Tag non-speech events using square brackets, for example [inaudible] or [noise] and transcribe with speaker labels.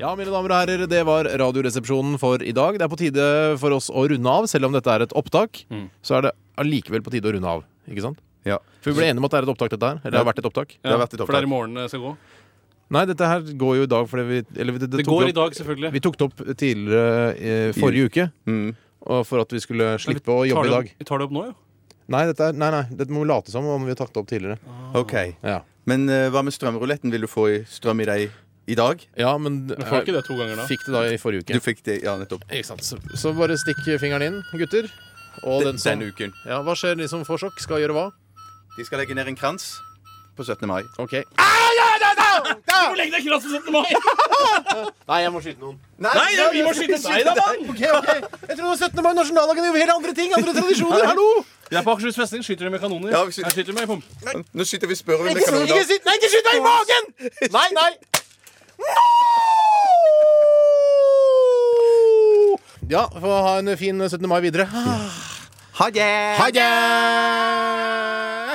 Speaker 1: Ja, mine damer og herrer, det var Radioresepsjonen for i dag. Det er på tide for oss å runde av. Selv om dette er et opptak,
Speaker 2: Mm.
Speaker 1: så er det allikevel på tide å runde av. Ikke sant?
Speaker 3: Ja.
Speaker 1: For vi ble enige om at det er et opptak, dette her. Eller det har vært et opptak.
Speaker 3: Det har vært et
Speaker 2: for det er
Speaker 3: opptak.
Speaker 2: i morgen det skal gå.
Speaker 1: Nei, dette her går jo i dag fordi vi eller, det,
Speaker 2: Det
Speaker 1: tok
Speaker 2: går
Speaker 1: vi
Speaker 2: i
Speaker 1: opp,
Speaker 2: dag, selvfølgelig.
Speaker 1: Vi tok det opp tidligere eh, forrige uke.
Speaker 3: Mm.
Speaker 1: Og for at vi skulle slippe å
Speaker 2: Tar
Speaker 1: jobbe i
Speaker 2: det,
Speaker 1: dag.
Speaker 2: Vi tar det opp nå, jo.
Speaker 1: Nei, dette, er, nei, nei, dette må vi late som om vi har tatt det opp tidligere.
Speaker 3: OK.
Speaker 1: Ja,
Speaker 3: Men eh, hva med strømruletten? Vil du få i- strøm i deg i dag?
Speaker 1: ja men
Speaker 2: Men får ikke det to ganger da.
Speaker 1: fikk det da i forrige uke.
Speaker 3: Du fikk det, ja, nettopp.
Speaker 1: Ikke sant? Så, så bare stikk fingeren inn, gutter. Og den,
Speaker 3: Den-
Speaker 1: som,
Speaker 3: Denne uken.
Speaker 1: ja, Hva skjer de som får sjokk? Skal gjøre hva?
Speaker 3: De skal legge ned en krans på 17. mai.
Speaker 1: Ok
Speaker 2: Du må legge deg krass på 17. mai!
Speaker 1: Nei, jeg må skyte noen.
Speaker 3: Nei,
Speaker 2: nei, vi må skyte deg da, mann!
Speaker 3: Ok, ok.
Speaker 1: Jeg trodde 17. mai nasjonaldagen gjorde helt andre ting! Andre tradisjoner! Hallo!
Speaker 2: Jeg er på Akershus festning. Skyter de med kanoner?
Speaker 3: Ja, vi skyter-
Speaker 2: jeg skyter med pump.
Speaker 3: Nå skyter vi spørre med kanoner.
Speaker 1: sitt, nei, ikke skyt meg i magen!
Speaker 3: [laughs]
Speaker 1: Nei, nei. No! Ja, få ha en fin 17. mai videre.
Speaker 3: Ha det!
Speaker 1: Ha det!